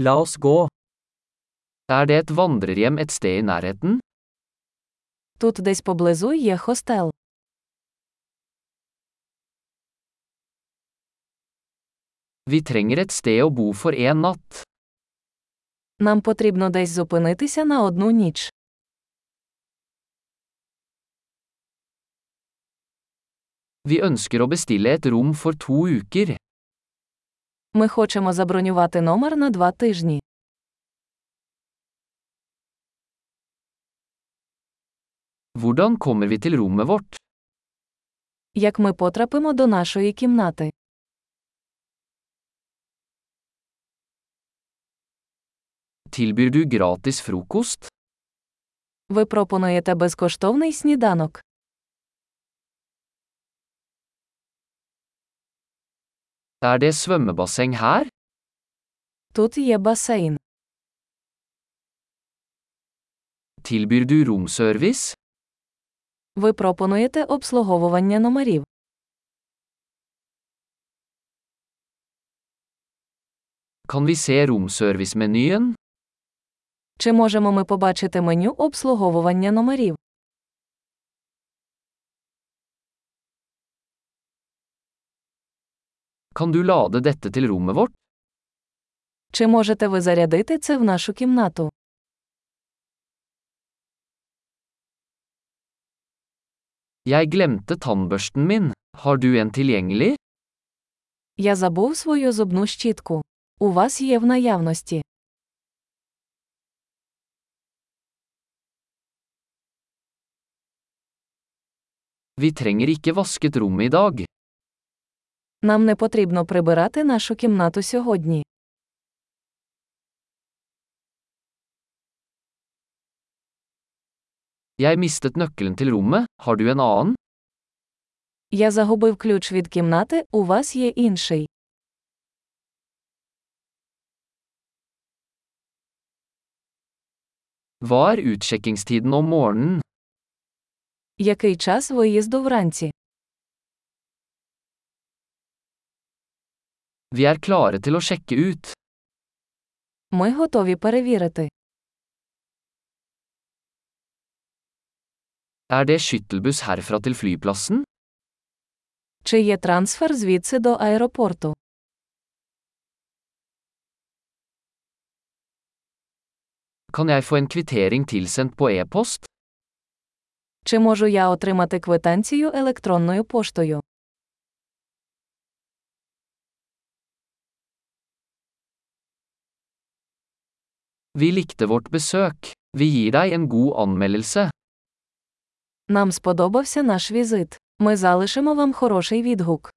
La oss gå. Er det et vandrerhjem et sted i nærheten? Тут десь поблизу є хостел. Vi trenger et sted å bo for en natt. Нам потрібно десь зупинитися на одну ніч. Vi ønsker å bestille et rom for to uker. Ми хочемо забронювати номер на два тижні. Hvordan kommer vi til rommet vårt? Як ми потрапимо до нашої кімнати? Tilbyr du gratis frokost? Ви пропонуєте безкоштовний сніданок. Er det svømmebasseng her? Тут є басейн. Tilbyr du romservice? Ви пропонуєте обслуговування номерів. Kan vi se romservice-menyen? Чи можемо ми побачити меню обслуговування номерів? Kan du lade dette til rommet vårt? Чи можете ви зарядити це в нашу кімнату? Jeg glemte tannbørsten min. Har du en tilgjengelig? Я забув свою зубну щітку. У вас є в наявності. Vi trenger ikke vasket rommet i dag. Нам не потрібно прибирати нашу кімнату сьогодні. Jeg mistet nøkkelen til rommet. Har du en annen? Я загубив ключ від кімнати, у вас є інший. Hva er utsjekkingstiden om morgenen? Який час виїзду вранці? Vi er klare til å sjekke ut. Ми готові перевірити. Er det skyttelbuss herfra til flyplassen? Чи є трансфер звідси до аеропорту? Kan jeg få en kvittering tilsendt på e-post? Чи можу я отримати квитанцію електронною поштою? Vi likte vårt besøk. Vi gir deg en god anmeldelse. Нам сподобався наш візит. Ми залишимо вам хороший відгук.